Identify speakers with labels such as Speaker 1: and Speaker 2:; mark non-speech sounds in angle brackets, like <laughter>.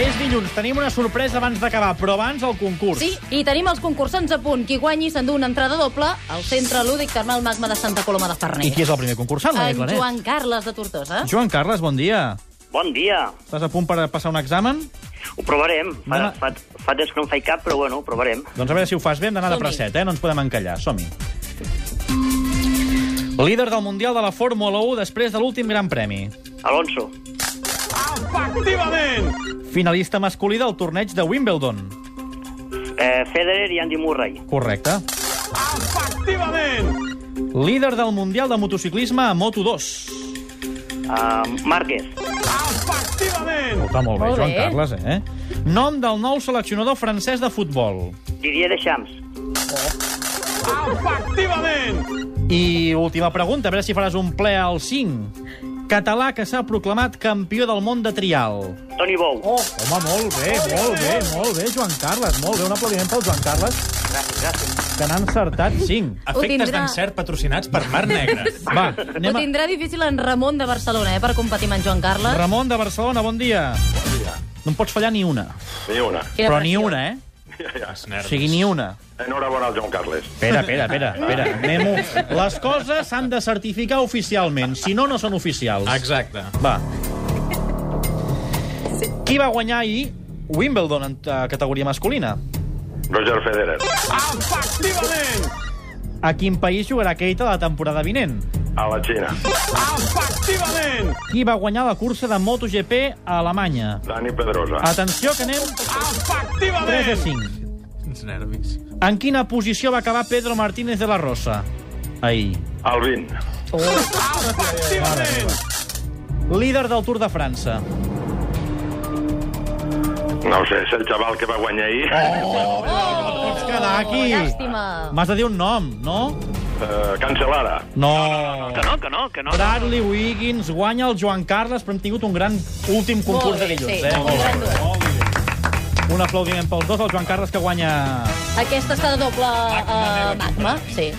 Speaker 1: És dilluns, tenim una sorpresa abans d'acabar, però abans el concurs.
Speaker 2: Sí, i tenim els concursants a punt. Qui guanyi s'endú una entrada doble al Centre Lúdic Termal Magma de Santa Coloma de Farners.
Speaker 1: I qui és el primer concursant? Maria
Speaker 2: En
Speaker 1: Claret?
Speaker 2: Joan Carles de Tortosa.
Speaker 1: Joan Carles, bon dia.
Speaker 3: Bon dia.
Speaker 1: Estàs a punt per passar un examen?
Speaker 3: Ho provarem. Fa,
Speaker 1: Demà-
Speaker 3: fa, fa temps que no en faig cap, però bueno, ho provarem.
Speaker 1: Doncs a veure si ho fas bé, hem d'anar de
Speaker 2: Som-hi.
Speaker 1: preset, eh? No ens podem encallar. Som-hi. Líder del Mundial de la Fórmula 1 després de l'últim Gran Premi.
Speaker 3: Alonso,
Speaker 1: Finalista masculí del torneig de Wimbledon.
Speaker 3: eh, Federer i Andy Murray.
Speaker 1: Correcte. Efectivament! Líder del Mundial de motociclisme a Moto2.
Speaker 3: Eh, Márquez,
Speaker 1: Està molt bé,
Speaker 2: Molt
Speaker 1: Joan
Speaker 2: bé.
Speaker 1: Carles, eh? Nom del nou seleccionador francès de futbol.
Speaker 3: Didier Deschamps,
Speaker 1: I última pregunta, a veure si faràs un ple al 5. Català que s'ha proclamat campió del món de trial.
Speaker 3: Toni Bou.
Speaker 1: Oh, home, molt bé, molt bé, molt bé, Joan Carles. Molt bé, un aplaudiment pel Joan Carles,
Speaker 3: Gràcies, gràcies.
Speaker 1: que n'ha encertat 5.
Speaker 2: Ho tindrà.
Speaker 4: Efectes d'encert patrocinats per Mar Negra. <laughs>
Speaker 1: Va,
Speaker 2: Ho
Speaker 1: anem a...
Speaker 2: tindrà difícil en Ramon de Barcelona, eh, per competir amb en Joan Carles.
Speaker 1: Ramon de Barcelona, bon dia. No en pots fallar ni una.
Speaker 5: Ni una.
Speaker 2: Quina
Speaker 1: Però ni
Speaker 2: pressió.
Speaker 1: una, eh?
Speaker 4: Els
Speaker 1: O
Speaker 4: nervis.
Speaker 1: sigui, ni una.
Speaker 5: Enhorabona al Joan Carles.
Speaker 1: Espera, espera, espera. espera. Anem Les coses s'han de certificar oficialment. Si no, no són oficials.
Speaker 4: Exacte.
Speaker 2: <laughs>
Speaker 1: Va. Qui va guanyar ahir Wimbledon en eh, categoria masculina?
Speaker 5: Roger Federer.
Speaker 1: A quin país jugarà Keita la temporada vinent?
Speaker 5: A la Xina.
Speaker 1: Qui va guanyar la cursa de MotoGP a Alemanya?
Speaker 5: Dani Pedrosa.
Speaker 1: Atenció, que anem... 3 de 5.
Speaker 4: Uns nervis.
Speaker 1: En quina posició va acabar Pedro Martínez de la Rosa? Ahir.
Speaker 5: Al 20.
Speaker 1: Líder del Tour de França.
Speaker 2: Oh,
Speaker 5: No ho sé, és el xaval que va guanyar ahir.
Speaker 1: Pots quedar aquí.
Speaker 2: Oh, Llàstima.
Speaker 1: M'has de dir un nom, no?
Speaker 5: Eh, Cancelara.
Speaker 1: No.
Speaker 3: Que no, que no, que no.
Speaker 1: Bradley Wiggins guanya el Joan Carles, però hem tingut un gran últim concurs
Speaker 2: Molt
Speaker 1: de
Speaker 2: bé,
Speaker 1: dilluns.
Speaker 2: sí,
Speaker 1: eh?
Speaker 2: un gran duel.
Speaker 1: Un aplaudiment pels dos, el Joan Carles que guanya
Speaker 2: Aquesta està de doble eh, magma, sí.